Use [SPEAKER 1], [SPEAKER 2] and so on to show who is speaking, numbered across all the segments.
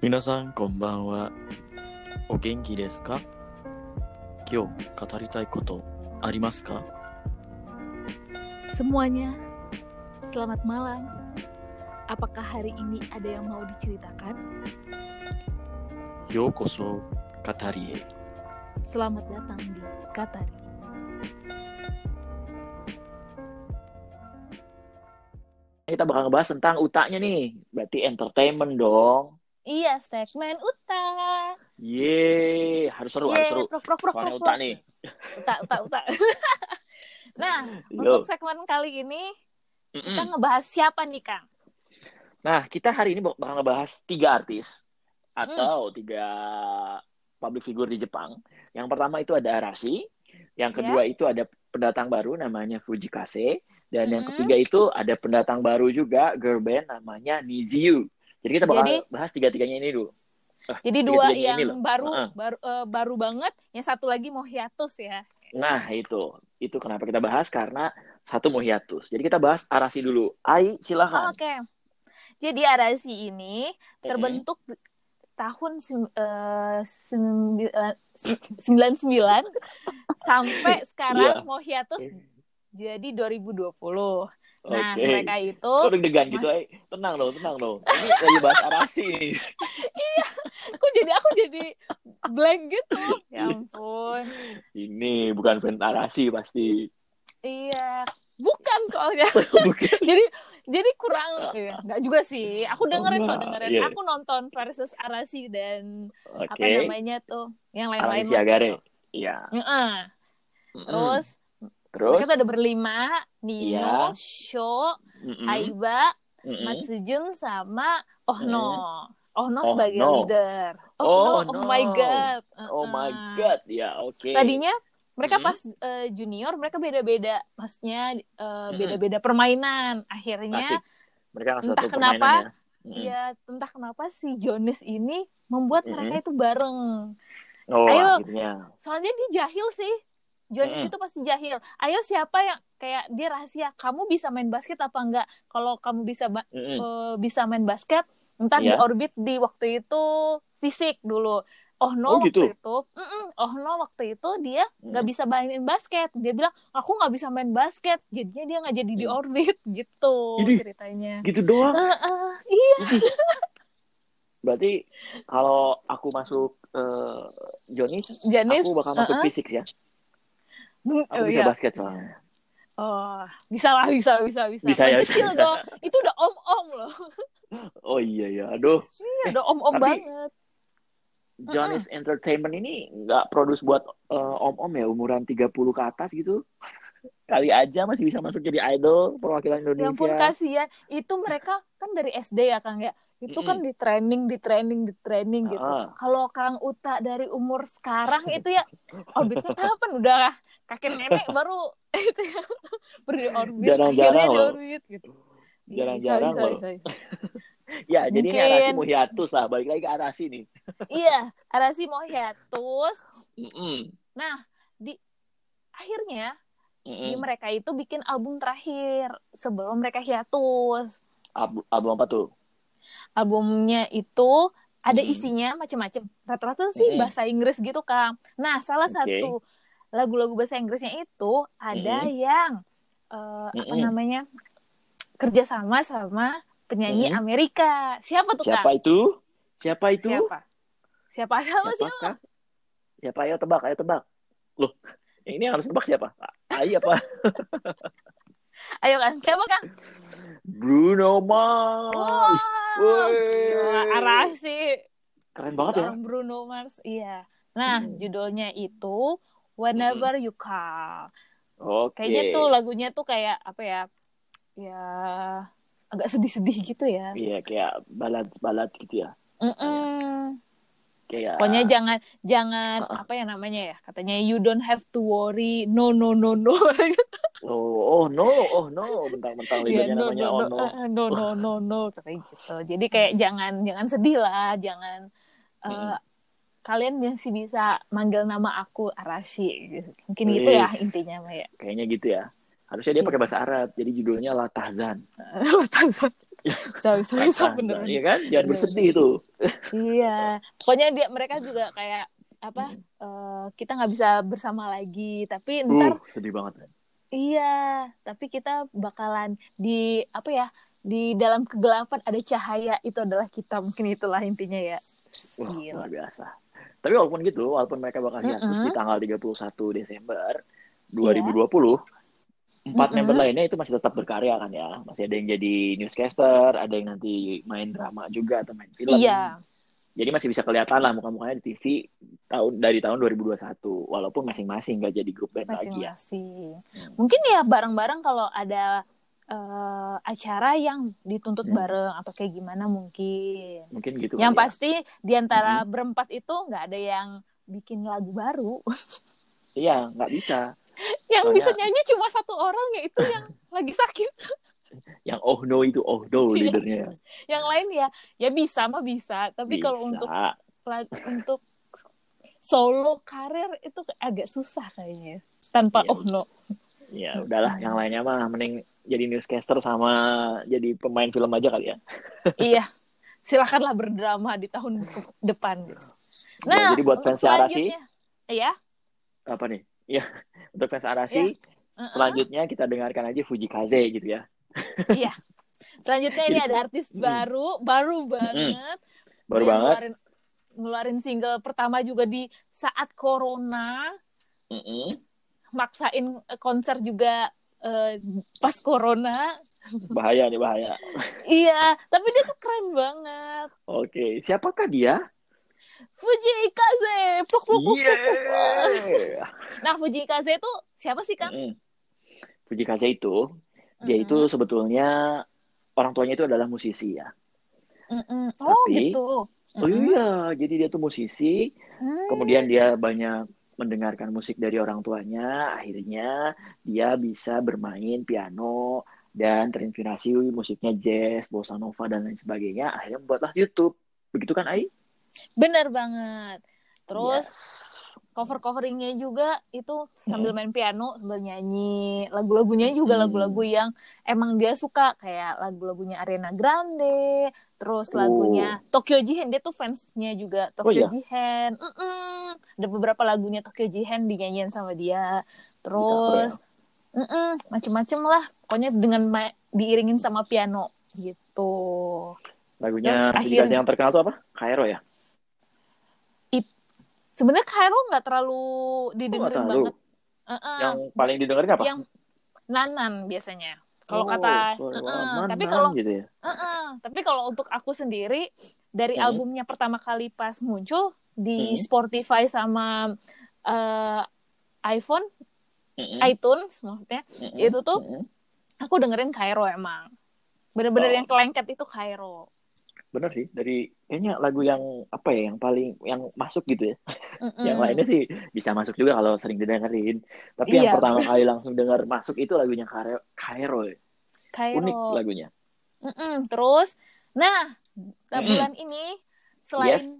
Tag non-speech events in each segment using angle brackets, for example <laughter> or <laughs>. [SPEAKER 1] 皆さんこんばんはお元気ですか今日語りたいことありますか
[SPEAKER 2] Semuanya, selamat malam. Apakah hari ini ada yang mau diceritakan?
[SPEAKER 1] ようこそ語りへ
[SPEAKER 2] Selamat datang di Katari.
[SPEAKER 3] kita bakal ngebahas tentang utaknya nih. Berarti entertainment dong.
[SPEAKER 2] Iya, segmen Uta.
[SPEAKER 3] Yeay, harus seru, harus seru.
[SPEAKER 2] prok, prok, prok,
[SPEAKER 3] Soalnya
[SPEAKER 2] prok,
[SPEAKER 3] utak
[SPEAKER 2] prok.
[SPEAKER 3] nih.
[SPEAKER 2] Uta, uta,
[SPEAKER 3] <laughs>
[SPEAKER 2] uta. nah,
[SPEAKER 3] Yo.
[SPEAKER 2] untuk segmen kali ini
[SPEAKER 3] Mm-mm.
[SPEAKER 2] kita ngebahas siapa nih, Kang?
[SPEAKER 3] Nah, kita hari ini bakal ngebahas tiga artis
[SPEAKER 2] Hmm.
[SPEAKER 3] atau tiga public figure di Jepang. Yang pertama itu ada Arashi, yang kedua
[SPEAKER 2] Ya.
[SPEAKER 3] itu ada pendatang baru namanya Fujikase, dan yang
[SPEAKER 2] Mm-mm.
[SPEAKER 3] ketiga itu ada pendatang baru juga girl band namanya Niziu. Jadi kita bakal
[SPEAKER 2] Jadi-
[SPEAKER 3] bahas tiga-tiganya ini dulu.
[SPEAKER 2] Jadi dua
[SPEAKER 3] Tiga-tiganya
[SPEAKER 2] yang
[SPEAKER 3] ini loh.
[SPEAKER 2] baru,
[SPEAKER 3] Heeh.
[SPEAKER 2] baru, eh, baru banget, yang satu lagi mau hiatus ya.
[SPEAKER 3] Nah, itu. Itu kenapa kita bahas karena satu mau hiatus. Jadi kita bahas Arashi dulu. Ai, silakan.
[SPEAKER 2] Oke. Jadi Arasi ini
[SPEAKER 3] Mm-mm.
[SPEAKER 2] terbentuk tahun sim- eh, sembilan- si- 99
[SPEAKER 3] <laughs>
[SPEAKER 2] sampai
[SPEAKER 3] Iya.
[SPEAKER 2] sekarang mau hiatus jadi 2020.
[SPEAKER 3] Eh,
[SPEAKER 2] Nah,
[SPEAKER 3] Oke.
[SPEAKER 2] mereka itu
[SPEAKER 3] Kok deg-degan gitu, Ai?
[SPEAKER 2] Mas-
[SPEAKER 3] Tenang dong, tenang dong. Ini lagi bahas Arashi
[SPEAKER 2] <laughs>
[SPEAKER 3] nih.
[SPEAKER 2] kok jadi aku jadi blank
[SPEAKER 3] <laughs>
[SPEAKER 2] gitu. Ya ampun.
[SPEAKER 3] Ini bukan band Arashi
[SPEAKER 2] <laughs>
[SPEAKER 3] pasti.
[SPEAKER 2] Iya, bukan soalnya. <laughs>
[SPEAKER 3] Bukan.
[SPEAKER 2] Jadi jadi kurang ya, enggak juga sih. Aku dengerin kok,
[SPEAKER 3] Enggak,
[SPEAKER 2] dengerin.
[SPEAKER 3] Ah, iya.
[SPEAKER 2] Aku nonton versus Arasi dan apa
[SPEAKER 3] Oke.
[SPEAKER 2] namanya tuh yang lain-lain.
[SPEAKER 3] Arashi Agare. Iya.
[SPEAKER 2] Heeh.
[SPEAKER 3] Mm-mm.
[SPEAKER 2] Terus
[SPEAKER 3] terus
[SPEAKER 2] Mereka tuh ada berlima, Nino,
[SPEAKER 3] Iya.
[SPEAKER 2] Sho,
[SPEAKER 3] Mm-mm.
[SPEAKER 2] Aiba,
[SPEAKER 3] Mm-mm.
[SPEAKER 2] Matsujun sama Ohno. Ohno
[SPEAKER 3] Oh,
[SPEAKER 2] sebagai
[SPEAKER 3] no.
[SPEAKER 2] leader.
[SPEAKER 3] Oh,
[SPEAKER 2] Oh, no.
[SPEAKER 3] no.
[SPEAKER 2] oh my god.
[SPEAKER 3] Oh
[SPEAKER 2] Uh-uh.
[SPEAKER 3] my god, Hmm. ya oke.
[SPEAKER 2] Tadinya mereka
[SPEAKER 3] Mm-mm.
[SPEAKER 2] pas eh, junior mereka beda-beda, maksudnya eh,
[SPEAKER 3] Mm-mm.
[SPEAKER 2] beda-beda permainan. Akhirnya
[SPEAKER 3] Hmm. Asik. Mereka nggak
[SPEAKER 2] entah
[SPEAKER 3] satu
[SPEAKER 2] kenapa,
[SPEAKER 3] permainan ya. Mm.
[SPEAKER 2] ya entah kenapa si Jonas ini membuat
[SPEAKER 3] Mm-mm.
[SPEAKER 2] mereka itu bareng.
[SPEAKER 3] Oh,
[SPEAKER 2] Ayo.
[SPEAKER 3] akhirnya.
[SPEAKER 2] Soalnya dia jahil sih. Jonas
[SPEAKER 3] Mm-mm.
[SPEAKER 2] itu pasti jahil. Ayo siapa yang kayak dia rahasia. Kamu bisa main basket apa enggak? Kalau kamu bisa ba-
[SPEAKER 3] Mm-mm.
[SPEAKER 2] eh, bisa main basket, ntar di
[SPEAKER 3] Hmm. Iya.
[SPEAKER 2] orbit di waktu itu fisik dulu. Oh no
[SPEAKER 3] Oh, gitu?
[SPEAKER 2] waktu itu, Mm-mm. oh no waktu itu dia nggak
[SPEAKER 3] Mm.
[SPEAKER 2] bisa mainin basket. Dia bilang aku nggak bisa main basket. Jadinya dia nggak jadi di
[SPEAKER 3] Mm.
[SPEAKER 2] orbit <laughs> gitu
[SPEAKER 3] Idih.
[SPEAKER 2] ceritanya.
[SPEAKER 3] Gitu doang.
[SPEAKER 2] Ah, ah.
[SPEAKER 3] Berarti kalau aku masuk eh, Johnny,
[SPEAKER 2] Janis,
[SPEAKER 3] aku bakal masuk
[SPEAKER 2] uh-uh.
[SPEAKER 3] fisik ya.
[SPEAKER 2] mm,
[SPEAKER 3] Aku
[SPEAKER 2] oh,
[SPEAKER 3] bisa
[SPEAKER 2] iya.
[SPEAKER 3] basket soalnya.
[SPEAKER 2] Oh, bisa lah, bisa, bisa, bisa.
[SPEAKER 3] Bisa
[SPEAKER 2] Main
[SPEAKER 3] ya,
[SPEAKER 2] kecil
[SPEAKER 3] bisa.
[SPEAKER 2] dong. Itu udah om-om loh.
[SPEAKER 3] Oh iya ya, aduh.
[SPEAKER 2] Iya, udah om-om
[SPEAKER 3] tapi-
[SPEAKER 2] banget.
[SPEAKER 3] Johnny's Entertainment ini nggak produce buat eh, om-om ya umuran 30 ke atas gitu. Kali aja masih bisa masuk jadi idol perwakilan
[SPEAKER 2] Ya ampun
[SPEAKER 3] Indonesia.
[SPEAKER 2] kasihan. Itu mereka kan dari SD ya Kang ya. Itu kan di training, di training, di training gitu.
[SPEAKER 3] Ah.
[SPEAKER 2] Kalau Kang Uta dari umur sekarang itu ya orbitnya kapan udah lah. kakek nenek baru <laughs> itu ya baru di orbit.
[SPEAKER 3] Jarang-jarang
[SPEAKER 2] akhirnya di
[SPEAKER 3] loh.
[SPEAKER 2] orbit gitu. Iya,
[SPEAKER 3] Jarang-jarang
[SPEAKER 2] bisa, bisa,
[SPEAKER 3] loh.
[SPEAKER 2] bisa.
[SPEAKER 3] Ya, jadi ini
[SPEAKER 2] Mungkin.
[SPEAKER 3] Arasi mau hiatus lah. Balik lagi ke Arasi nih.
[SPEAKER 2] Iya, Arasi mau hiatus.
[SPEAKER 3] Mm-mm.
[SPEAKER 2] Nah, di akhirnya
[SPEAKER 3] Mm-mm.
[SPEAKER 2] di mereka itu bikin album terakhir sebelum mereka hiatus.
[SPEAKER 3] Ab- Album apa tuh?
[SPEAKER 2] albumnya itu ada
[SPEAKER 3] Mm-mm.
[SPEAKER 2] isinya macam-macam. Rata-rata sih
[SPEAKER 3] Mm-mm.
[SPEAKER 2] bahasa Inggris gitu, Kang. Nah, salah
[SPEAKER 3] Hmm. Oke.
[SPEAKER 2] satu lagu-lagu bahasa Inggrisnya itu ada
[SPEAKER 3] Mm-mm.
[SPEAKER 2] yang eh, apa
[SPEAKER 3] Mm-mm.
[SPEAKER 2] namanya? kerjasama sama penyanyi
[SPEAKER 3] Mm-mm.
[SPEAKER 2] Amerika. Siapa tuh,
[SPEAKER 3] Hmm. Siapa
[SPEAKER 2] Kang?
[SPEAKER 3] itu? Siapa itu?
[SPEAKER 2] Siapa? Siapa? Siapa sih?
[SPEAKER 3] Siapakah? Siapa? Ayo tebak, ayo tebak. Loh, yang ini yang harus tebak siapa? Ai apa?
[SPEAKER 2] Ayo kan, siapa Kang?
[SPEAKER 3] Bruno
[SPEAKER 2] Wow,
[SPEAKER 3] Mars. Wey.
[SPEAKER 2] Gila, Arasi.
[SPEAKER 3] Keren banget ya. Hmm.
[SPEAKER 2] Seorang Bruno Mars. Iya. Nah,
[SPEAKER 3] Mm-mm.
[SPEAKER 2] judulnya
[SPEAKER 3] Hmm.
[SPEAKER 2] itu Whenever You Call.
[SPEAKER 3] Oke.
[SPEAKER 2] kayaknya tuh
[SPEAKER 3] iya.
[SPEAKER 2] lagunya tuh kayak apa ya ya agak sedih-sedih gitu ya
[SPEAKER 3] Iya, kayak balad-balad gitu ya.
[SPEAKER 2] Mm-mm.
[SPEAKER 3] Kayak
[SPEAKER 2] pokoknya jangan jangan
[SPEAKER 3] Ah, ah.
[SPEAKER 2] apa ya namanya ya katanya you don't have to worry no no no no <laughs>
[SPEAKER 3] oh, oh no, oh no, bentang-bentang
[SPEAKER 2] ya
[SPEAKER 3] lidahnya
[SPEAKER 2] no
[SPEAKER 3] namanya Hmm.
[SPEAKER 2] no
[SPEAKER 3] oh
[SPEAKER 2] no
[SPEAKER 3] no.
[SPEAKER 2] ah, ah, no no no no katanya gitu jadi kayak jangan jangan sedih lah jangan eh,
[SPEAKER 3] Mm-mm.
[SPEAKER 2] kalian masih bisa manggil nama aku Arashi mungkin gitu ya <laughs>
[SPEAKER 3] Yes.
[SPEAKER 2] intinya Maya Hmm.
[SPEAKER 3] <laughs>
[SPEAKER 2] <laughs>
[SPEAKER 3] Kayaknya gitu ya. Harusnya dia pakai bahasa Arab, jadi judulnya Latahzan.
[SPEAKER 2] bisa bisa bisa beneran
[SPEAKER 3] Iya kan? Jangan
[SPEAKER 2] Bener.
[SPEAKER 3] bersedih tuh.
[SPEAKER 2] Iya, pokoknya dia mereka juga kayak apa? eh, kita nggak bisa bersama lagi, tapi
[SPEAKER 3] Uh,
[SPEAKER 2] ntar
[SPEAKER 3] sedih banget.
[SPEAKER 2] iya, tapi kita bakalan di apa ya? Di dalam kegelapan ada cahaya itu adalah kita mungkin itulah intinya ya.
[SPEAKER 3] Wah,
[SPEAKER 2] Gila.
[SPEAKER 3] luar biasa. Tapi walaupun gitu, walaupun mereka bakal hiatus
[SPEAKER 2] Mm-mm. Iya.
[SPEAKER 3] di tanggal 31 Desember 2020, empat
[SPEAKER 2] Mm-mm.
[SPEAKER 3] member lainnya itu masih tetap berkarya kan ya. Masih ada yang jadi newscaster, ada yang nanti main drama juga atau main film.
[SPEAKER 2] Iya,
[SPEAKER 3] Jadi masih bisa kelihatan lah muka-mukanya di TV tahun dari tahun 2021 walaupun masing-masing nggak jadi grup band lagi ya.
[SPEAKER 2] masing-masing. Mungkin ya bareng-bareng kalau ada eh, acara yang dituntut
[SPEAKER 3] Hmm.
[SPEAKER 2] bareng atau kayak gimana mungkin.
[SPEAKER 3] Mungkin gitu.
[SPEAKER 2] Yang
[SPEAKER 3] kali ya.
[SPEAKER 2] pasti di antara berempat itu nggak ada yang bikin lagu baru.
[SPEAKER 3] Iya, nggak bisa.
[SPEAKER 2] yang
[SPEAKER 3] Soalnya-
[SPEAKER 2] bisa nyanyi cuma satu orang yaitu
[SPEAKER 3] <laughs>
[SPEAKER 2] yang lagi sakit
[SPEAKER 3] Yang oh no itu oh no
[SPEAKER 2] Iya.
[SPEAKER 3] leadernya.
[SPEAKER 2] yang lain ya ya bisa mah bisa tapi kalau
[SPEAKER 3] Bisa.
[SPEAKER 2] untuk la- untuk solo karir itu agak susah kayaknya tanpa
[SPEAKER 3] Iya.
[SPEAKER 2] oh no
[SPEAKER 3] Ya udahlah, yang lainnya mah mending jadi newscaster sama jadi pemain film aja kali ya.
[SPEAKER 2] iya silakanlah berdrama di tahun ke- depan Nah,
[SPEAKER 3] Ya, jadi buat
[SPEAKER 2] untuk
[SPEAKER 3] fans Arasi,
[SPEAKER 2] selanjutnya- iya
[SPEAKER 3] apa nih? Ya, <laughs> untuk fans Arasi,
[SPEAKER 2] uh-uh.
[SPEAKER 3] selanjutnya kita dengarkan aja Fuji Kaze gitu ya.
[SPEAKER 2] selanjutnya ini
[SPEAKER 3] Jadi-
[SPEAKER 2] ada artis
[SPEAKER 3] Mm.
[SPEAKER 2] baru baru banget
[SPEAKER 3] Baru
[SPEAKER 2] Dia
[SPEAKER 3] banget.
[SPEAKER 2] ngeluarin, ngeluarin single pertama juga di saat corona
[SPEAKER 3] Mm-mm.
[SPEAKER 2] maksain konser juga eh, pas corona.
[SPEAKER 3] Bahaya nih, bahaya.
[SPEAKER 2] Iya, tapi dia tuh keren banget.
[SPEAKER 3] Oke, siapakah dia?
[SPEAKER 2] Fuji Ikaze. Pluk, pluk, pluk.
[SPEAKER 3] Iya. Yeah.
[SPEAKER 2] Nah, Fuji Ikaze tuh siapa sih, Kang?
[SPEAKER 3] Mm-mm. Fuji Kaze itu, dia itu sebetulnya orang tuanya itu adalah musisi ya.
[SPEAKER 2] Mm-mm. Oh,
[SPEAKER 3] Tapi-
[SPEAKER 2] gitu.
[SPEAKER 3] Oh
[SPEAKER 2] Mm-mm.
[SPEAKER 3] iya, jadi dia tuh musisi,
[SPEAKER 2] Hmm.
[SPEAKER 3] Kemudian dia banyak mendengarkan musik dari orang tuanya, akhirnya dia bisa bermain piano dan terinspirasi musiknya jazz, bossa nova dan lain sebagainya, akhirnya membuatlah YouTube. Begitu kan Ai?
[SPEAKER 2] Bener banget. Terus
[SPEAKER 3] Yes.
[SPEAKER 2] cover-coveringnya juga itu sambil
[SPEAKER 3] Hmm.
[SPEAKER 2] main piano, sambil nyanyi. Lagu-lagunya juga
[SPEAKER 3] Mm.
[SPEAKER 2] lagu-lagu yang emang dia suka kayak lagu-lagunya Ariana Grande, terus
[SPEAKER 3] Oh.
[SPEAKER 2] lagunya Tokyo Jihen. Dia tuh fansnya juga Tokyo
[SPEAKER 3] Oh, iya?
[SPEAKER 2] Jihen. Mm-mm. Ada beberapa lagunya Tokyo Jihen dinyanyiin sama
[SPEAKER 3] Di cover
[SPEAKER 2] dia.
[SPEAKER 3] ya?
[SPEAKER 2] Terus mm-mm, macem-macem lah. Pokoknya dengan ma- diiringin sama piano gitu.
[SPEAKER 3] Lagunya
[SPEAKER 2] Terus
[SPEAKER 3] Fuji
[SPEAKER 2] akhirnya-
[SPEAKER 3] Kaze yang terkenal tuh apa? Cairo ya?
[SPEAKER 2] Sebenarnya Cairo nggak terlalu
[SPEAKER 3] nggak
[SPEAKER 2] didengerin
[SPEAKER 3] terlalu.
[SPEAKER 2] banget. Uh-uh.
[SPEAKER 3] Yang paling didengerin apa?
[SPEAKER 2] yang nanan biasanya. Kalau
[SPEAKER 3] Oh,
[SPEAKER 2] kata,
[SPEAKER 3] suara
[SPEAKER 2] Heeh,
[SPEAKER 3] aman,
[SPEAKER 2] tapi
[SPEAKER 3] man,
[SPEAKER 2] kalau
[SPEAKER 3] gitu ya.
[SPEAKER 2] heeh, tapi kalau untuk aku sendiri dari
[SPEAKER 3] Hmm.
[SPEAKER 2] albumnya pertama kali pas muncul
[SPEAKER 3] Hmm.
[SPEAKER 2] di Spotify sama eh, iPhone,
[SPEAKER 3] Mm-mm,
[SPEAKER 2] iTunes maksudnya,
[SPEAKER 3] mm-mm,
[SPEAKER 2] itu tuh
[SPEAKER 3] mm-mm.
[SPEAKER 2] aku dengerin Cairo emang. Bener-bener
[SPEAKER 3] Oh.
[SPEAKER 2] yang kelengket itu Cairo.
[SPEAKER 3] bener sih dari kayaknya lagu yang apa ya yang paling yang masuk gitu ya.
[SPEAKER 2] Mm-mm.
[SPEAKER 3] Yang lainnya sih bisa masuk juga kalau sering didengerin. Tapi yang
[SPEAKER 2] Iya.
[SPEAKER 3] pertama kali langsung dengar masuk itu lagunya Cairo. Cairo. ya.
[SPEAKER 2] Cairo.
[SPEAKER 3] Unik lagunya.
[SPEAKER 2] Mm-mm, terus, nah nah,
[SPEAKER 3] Mm-mm.
[SPEAKER 2] bulan ini selain
[SPEAKER 3] Yes.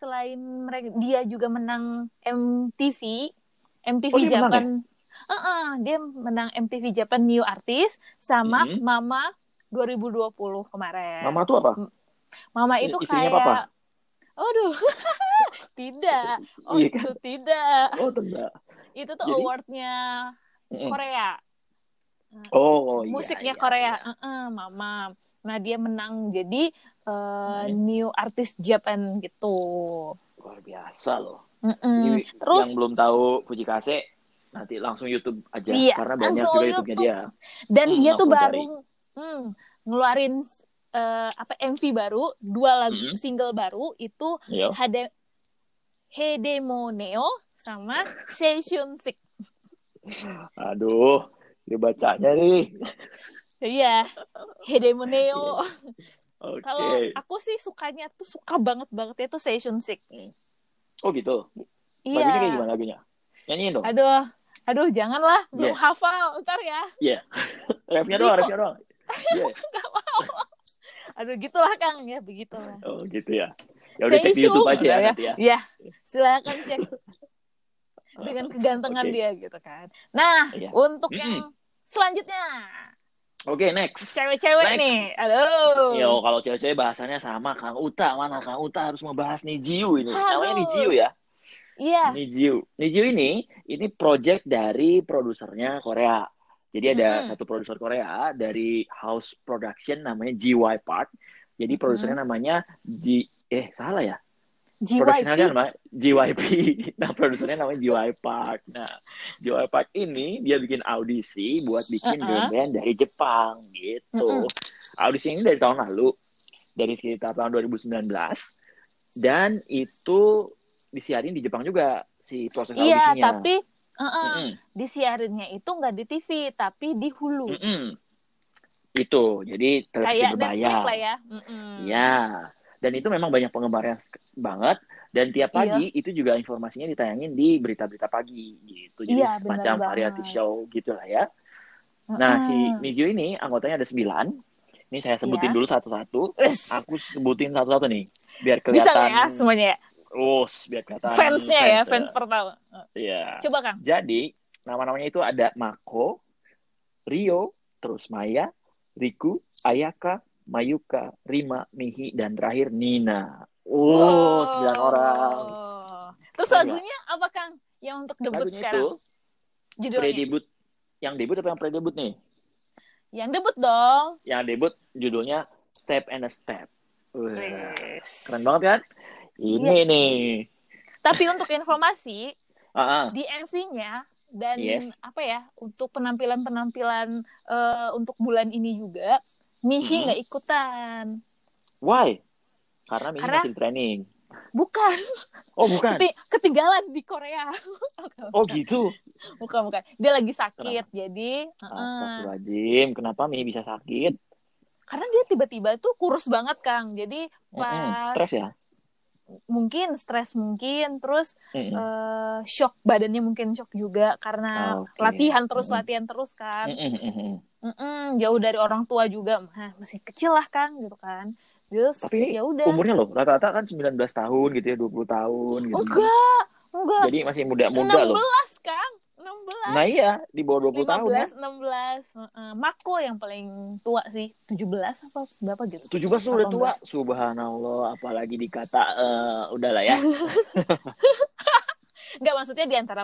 [SPEAKER 2] selain mereka dia juga menang MTV, MTV
[SPEAKER 3] Oh, dia menang
[SPEAKER 2] Japan, Heeh, dia menang MTV Japan New Artist sama
[SPEAKER 3] Mm-mm.
[SPEAKER 2] Mama 2020 kemarin.
[SPEAKER 3] Mama tuh apa?
[SPEAKER 2] Mama itu
[SPEAKER 3] istrinya
[SPEAKER 2] kayak,
[SPEAKER 3] Papa?
[SPEAKER 2] aduh, <laughs> tidak, oh
[SPEAKER 3] Iya
[SPEAKER 2] itu tidak,
[SPEAKER 3] Oh, tidak.
[SPEAKER 2] itu tuh
[SPEAKER 3] Jadi? Mm.
[SPEAKER 2] awardnya Korea.
[SPEAKER 3] Oh, oh, iya,
[SPEAKER 2] musiknya
[SPEAKER 3] iya,
[SPEAKER 2] Korea,
[SPEAKER 3] iya.
[SPEAKER 2] Heeh, Mama. Nah dia menang jadi eh,
[SPEAKER 3] Hmm.
[SPEAKER 2] new artist Japan gitu.
[SPEAKER 3] Luar biasa loh.
[SPEAKER 2] Heeh.
[SPEAKER 3] Jadi,
[SPEAKER 2] Hmm, Terus
[SPEAKER 3] yang belum tahu Fuji Kase nanti langsung YouTube aja
[SPEAKER 2] Iya,
[SPEAKER 3] karena banyak
[SPEAKER 2] langsung
[SPEAKER 3] juga YouTube-nya dia.
[SPEAKER 2] dan
[SPEAKER 3] Hmm,
[SPEAKER 2] dia
[SPEAKER 3] aku
[SPEAKER 2] tuh
[SPEAKER 3] cari.
[SPEAKER 2] baru hmm, ngeluarin eh, apa MV baru, dua lagu
[SPEAKER 3] Hmm.
[SPEAKER 2] single baru itu
[SPEAKER 3] Iya.
[SPEAKER 2] Hade Hedemoneo sama Seishun Sik.
[SPEAKER 3] Aduh, dibacanya nih.
[SPEAKER 2] Iya,
[SPEAKER 3] <laughs>
[SPEAKER 2] Hedemoneo.
[SPEAKER 3] Iya, Oke.
[SPEAKER 2] Kalau aku sih sukanya tuh suka banget banget itu Seishun Sik.
[SPEAKER 3] Oh, gitu.
[SPEAKER 2] Iya.
[SPEAKER 3] Lagunya kayak gimana lagunya? Nyanyiin dong.
[SPEAKER 2] Aduh, aduh janganlah belum
[SPEAKER 3] Yeah.
[SPEAKER 2] hafal ntar ya.
[SPEAKER 3] Refnya doang,
[SPEAKER 2] Riko.
[SPEAKER 3] refnya doang. Iya.
[SPEAKER 2] Aduh gitulah Kang ya begitulah.
[SPEAKER 3] Oh, gitu ya. Ya udah cek di
[SPEAKER 2] Seisu.
[SPEAKER 3] YouTube aja ya
[SPEAKER 2] Udah ya.
[SPEAKER 3] nanti ya.
[SPEAKER 2] Ya silakan cek dengan kegantengan
[SPEAKER 3] Oke.
[SPEAKER 2] dia gitu kan. Nah
[SPEAKER 3] Iya.
[SPEAKER 2] untuk
[SPEAKER 3] Mm-mm.
[SPEAKER 2] yang selanjutnya
[SPEAKER 3] Oke, next. Next.
[SPEAKER 2] Cewek-cewek nih. Aduh.
[SPEAKER 3] Yo, kalau cewek-cewek bahasannya sama Kang Uta. Mana Kang Uta harus membahas Nijiu ini. Namanya
[SPEAKER 2] Aduh.
[SPEAKER 3] Nijiu ya.
[SPEAKER 2] Iya.
[SPEAKER 3] Nijiu. Nijiu ini ini project dari produsernya Korea. Jadi ada
[SPEAKER 2] Mhm.
[SPEAKER 3] satu produser Korea dari house production namanya GY Park.
[SPEAKER 2] Mm-hmm.
[SPEAKER 3] Jadi produsernya namanya G eh salah ya. Produsernya kan
[SPEAKER 2] JYP.
[SPEAKER 3] namanya JYP. <laughs> Nah, produsernya namanya JY Park. Nah, JY Park ini dia bikin audisi buat bikin
[SPEAKER 2] Uh-uh.
[SPEAKER 3] band-band dari Jepang gitu. Audisi ini dari tahun lalu. Dari sekitar tahun 2019 dan itu disiarin di Jepang juga si proses
[SPEAKER 2] Iya,
[SPEAKER 3] audisinya.
[SPEAKER 2] tapi uh-uh,
[SPEAKER 3] Mm-mm.
[SPEAKER 2] disiarinnya itu nggak di TV, tapi di Hulu.
[SPEAKER 3] Mm-mm. Itu. Jadi televisi
[SPEAKER 2] Kayak Netflix
[SPEAKER 3] berbayar.
[SPEAKER 2] lah ya. Mm-mm.
[SPEAKER 3] Ya, dan itu memang banyak penggemarnya sk- banget. Dan
[SPEAKER 2] Iya.
[SPEAKER 3] tiap pagi itu juga informasinya ditayangin di berita-berita pagi gitu. Jadi
[SPEAKER 2] Iya, bener
[SPEAKER 3] semacam
[SPEAKER 2] banget.
[SPEAKER 3] variety show gitulah ya.
[SPEAKER 2] Mm-mm.
[SPEAKER 3] Nah, si Niju ini anggotanya ada sembilan. Ini saya sebutin
[SPEAKER 2] Iya.
[SPEAKER 3] dulu satu-satu.
[SPEAKER 2] Wes,
[SPEAKER 3] Aku sebutin satu-satu nih, biar
[SPEAKER 2] bisa
[SPEAKER 3] kelihatan.
[SPEAKER 2] lah ya semuanya ya.
[SPEAKER 3] Oh, biar kelihatan.
[SPEAKER 2] Fansnya ya,
[SPEAKER 3] fans,
[SPEAKER 2] fans
[SPEAKER 3] eh.
[SPEAKER 2] pertama.
[SPEAKER 3] Iya.
[SPEAKER 2] Coba Kang.
[SPEAKER 3] Jadi nama-namanya itu ada Mako, Rio, terus Maya, Riku, Ayaka, Mayuka, Rima, Mihi, dan terakhir Nina. Oh, sembilan orang.
[SPEAKER 2] Terus
[SPEAKER 3] Gila.
[SPEAKER 2] lagunya apa Kang? Yang untuk debut
[SPEAKER 3] Lagunya
[SPEAKER 2] sekarang.
[SPEAKER 3] itu
[SPEAKER 2] Judulnya.
[SPEAKER 3] pre-debut. Yang debut apa yang pre-debut nih?
[SPEAKER 2] Yang debut dong.
[SPEAKER 3] Yang debut judulnya Step and a Step. Wah,
[SPEAKER 2] Wes.
[SPEAKER 3] Keren banget kan? Ini
[SPEAKER 2] Iya.
[SPEAKER 3] nih.
[SPEAKER 2] Tapi untuk informasi,
[SPEAKER 3] Ah, ah.
[SPEAKER 2] di MV-nya dan
[SPEAKER 3] Yes.
[SPEAKER 2] apa ya untuk penampilan-penampilan eh, untuk bulan ini juga Mihi
[SPEAKER 3] Mhm.
[SPEAKER 2] nggak ikutan
[SPEAKER 3] Why? Karena Mihi
[SPEAKER 2] Karena-
[SPEAKER 3] masih di training.
[SPEAKER 2] bukan
[SPEAKER 3] Oh, bukan.
[SPEAKER 2] Keti- ketinggalan di Korea <laughs>
[SPEAKER 3] Oh, gitu.
[SPEAKER 2] bukan bukan dia lagi sakit jadi eh,
[SPEAKER 3] Astagfirullahaladzim. Kenapa Mihi bisa sakit?
[SPEAKER 2] karena dia tiba-tiba tuh kurus banget Kang jadi
[SPEAKER 3] Mm-mm.
[SPEAKER 2] pas
[SPEAKER 3] Stres ya?
[SPEAKER 2] mungkin stres mungkin terus
[SPEAKER 3] Mm-mm.
[SPEAKER 2] eh, shock badannya mungkin shock juga karena
[SPEAKER 3] Oh, Oke.
[SPEAKER 2] Eh, latihan terus
[SPEAKER 3] Mhm.
[SPEAKER 2] latihan terus kan
[SPEAKER 3] Mm-mm.
[SPEAKER 2] Mm-mm, jauh dari orang tua juga Hah, masih kecil lah Kang gitu kan terus
[SPEAKER 3] Tapi
[SPEAKER 2] ya udah
[SPEAKER 3] Umurnya loh, rata-rata kan 19 tahun gitu ya, 20 tahun gitu.
[SPEAKER 2] enggak enggak
[SPEAKER 3] Jadi masih muda-muda loh.
[SPEAKER 2] 16 Kang 16
[SPEAKER 3] Nah iya, di bawah 20 tahun ya.
[SPEAKER 2] 15 16 Heeh, Mako yang paling tua sih 17 apa berapa gitu
[SPEAKER 3] 17 tuh udah tua,
[SPEAKER 2] 18.
[SPEAKER 3] subhanallah, apalagi dikata eh, udahlah
[SPEAKER 2] <laughs>
[SPEAKER 3] ya.
[SPEAKER 2] enggak maksudnya di antara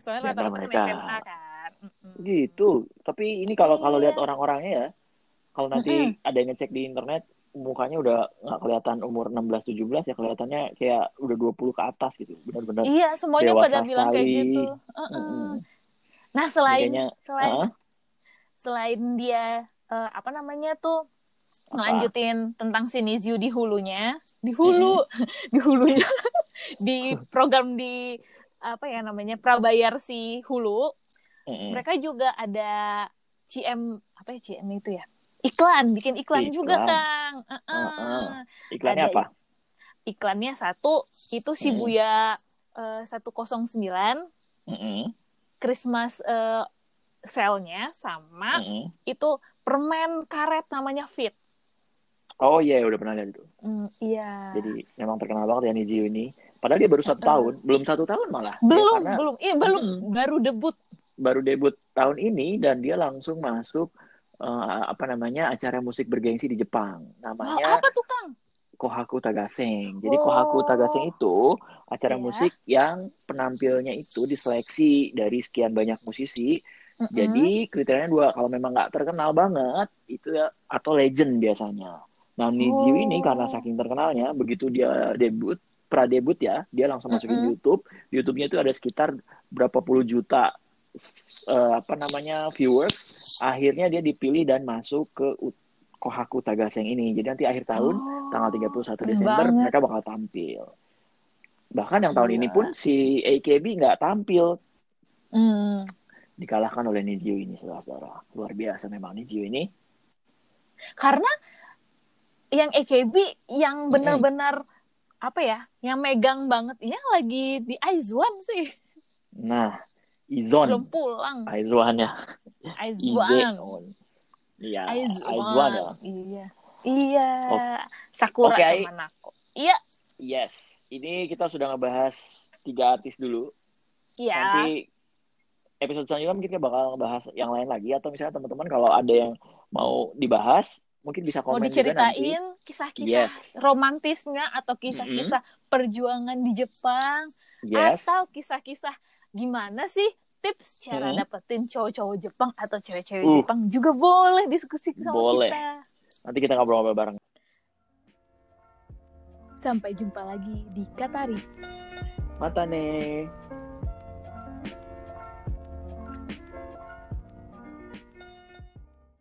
[SPEAKER 3] Di
[SPEAKER 2] soalnya
[SPEAKER 3] antara
[SPEAKER 2] rata-rata kan
[SPEAKER 3] mereka.
[SPEAKER 2] SMA kan Mm-mm.
[SPEAKER 3] gitu. Tapi ini kalau kalau
[SPEAKER 2] Iya.
[SPEAKER 3] lihat orang-orangnya ya, kalau nanti ada yang ngecek di internet mukanya udah nggak kelihatan umur 16 17 ya kelihatannya kayak udah 20 ke atas gitu. Benar-benar.
[SPEAKER 2] iya semuanya
[SPEAKER 3] Dewasa
[SPEAKER 2] pada bilang kayak
[SPEAKER 3] sekali.
[SPEAKER 2] gitu Heeh.
[SPEAKER 3] Mm-mm.
[SPEAKER 2] nah selain
[SPEAKER 3] Kayaknya,
[SPEAKER 2] selain
[SPEAKER 3] Heeh.
[SPEAKER 2] selain dia eh, apa namanya tuh ngelanjutin tentang Sinizio di hulunya, di hulu, <laughs> di hulunya, di program di apa ya namanya prabayar si hulu,
[SPEAKER 3] Mm-mm.
[SPEAKER 2] mereka juga ada CM apa ya CM itu ya iklan bikin iklan,
[SPEAKER 3] Iklan.
[SPEAKER 2] juga kang, Eh, eh.
[SPEAKER 3] Heeh. iklannya
[SPEAKER 2] ada
[SPEAKER 3] apa?
[SPEAKER 2] iklannya satu itu Shibuya eh, 109 ya.
[SPEAKER 3] Mm-mm.
[SPEAKER 2] Christmas eh, sale-nya sama
[SPEAKER 3] Mm-mm.
[SPEAKER 2] itu permen karet namanya Fit.
[SPEAKER 3] Oh iya, udah pernah lihat itu.
[SPEAKER 2] Mm, iya.
[SPEAKER 3] Jadi memang terkenal banget ya Nizio ini. Padahal dia baru satu tahun, belum satu tahun malah. Ya,
[SPEAKER 2] belum
[SPEAKER 3] karena
[SPEAKER 2] belum iya belum
[SPEAKER 3] Mm-mm.
[SPEAKER 2] baru debut
[SPEAKER 3] baru debut tahun ini dan dia langsung masuk eh, apa namanya acara musik bergengsi di Jepang.
[SPEAKER 2] Wah,
[SPEAKER 3] Namanya
[SPEAKER 2] apa tuh kang
[SPEAKER 3] Kohaku Tagaseng. Jadi
[SPEAKER 2] ah. Oh.
[SPEAKER 3] Kohaku Tagaseng itu acara
[SPEAKER 2] Iya.
[SPEAKER 3] musik yang penampilnya itu diseleksi dari sekian banyak musisi.
[SPEAKER 2] Mm-mm.
[SPEAKER 3] Jadi kriterianya dua, kalau memang nggak terkenal banget itu ya atau legend biasanya. Nah Nizio
[SPEAKER 2] Oh.
[SPEAKER 3] ini karena saking terkenalnya, begitu dia debut, pradebut ya, dia langsung masukin
[SPEAKER 2] Mm-mm.
[SPEAKER 3] YouTube. YouTube-nya itu ada sekitar berapa puluh juta eh, apa namanya viewers. Akhirnya dia dipilih dan masuk ke U- Kohaku Tagaseng ini. Jadi nanti akhir tahun
[SPEAKER 2] Oh.
[SPEAKER 3] tanggal 31
[SPEAKER 2] keren
[SPEAKER 3] Desember
[SPEAKER 2] banget. Iya.
[SPEAKER 3] mereka bakal tampil. Bahkan yang tahun
[SPEAKER 2] Gila.
[SPEAKER 3] ini pun si AKB nggak tampil
[SPEAKER 2] Mm.
[SPEAKER 3] dikalahkan oleh Nizio ini saudara-saudara. Luar biasa memang Nizio ini.
[SPEAKER 2] karena yang AKB
[SPEAKER 3] Hmm.
[SPEAKER 2] yang benar-benar apa ya yang megang banget yang lagi di Aizwan sih
[SPEAKER 3] Nah, Izon,
[SPEAKER 2] belum pulang
[SPEAKER 3] Aizwan ya.
[SPEAKER 2] Aizwan
[SPEAKER 3] Iya, Aizwan
[SPEAKER 2] Aizwan
[SPEAKER 3] ya.
[SPEAKER 2] iya iya
[SPEAKER 3] Oke.
[SPEAKER 2] Sakura
[SPEAKER 3] Oke, Ai.
[SPEAKER 2] sama Nako iya
[SPEAKER 3] Yes, ini kita sudah ngebahas tiga artis dulu.
[SPEAKER 2] iya
[SPEAKER 3] Nanti episode selanjutnya mungkin kita bakal bahas yang lain lagi atau misalnya teman-teman kalau ada yang mau dibahas mungkin bisa
[SPEAKER 2] Mau
[SPEAKER 3] komen juga nanti.
[SPEAKER 2] diceritain kisah-kisah
[SPEAKER 3] Yes.
[SPEAKER 2] romantisnya atau kisah-kisah perjuangan di Jepang
[SPEAKER 3] Yes.
[SPEAKER 2] atau kisah-kisah gimana sih tips cara
[SPEAKER 3] Mm-mm.
[SPEAKER 2] dapetin cowok-cowok Jepang atau cewek-cewek
[SPEAKER 3] Uh.
[SPEAKER 2] Jepang juga boleh diskusi sama
[SPEAKER 3] Boleh.
[SPEAKER 2] kita.
[SPEAKER 3] Nanti kita ngobrol-ngobrol bareng.
[SPEAKER 2] Sampai jumpa lagi di Katari.
[SPEAKER 3] Mata nih.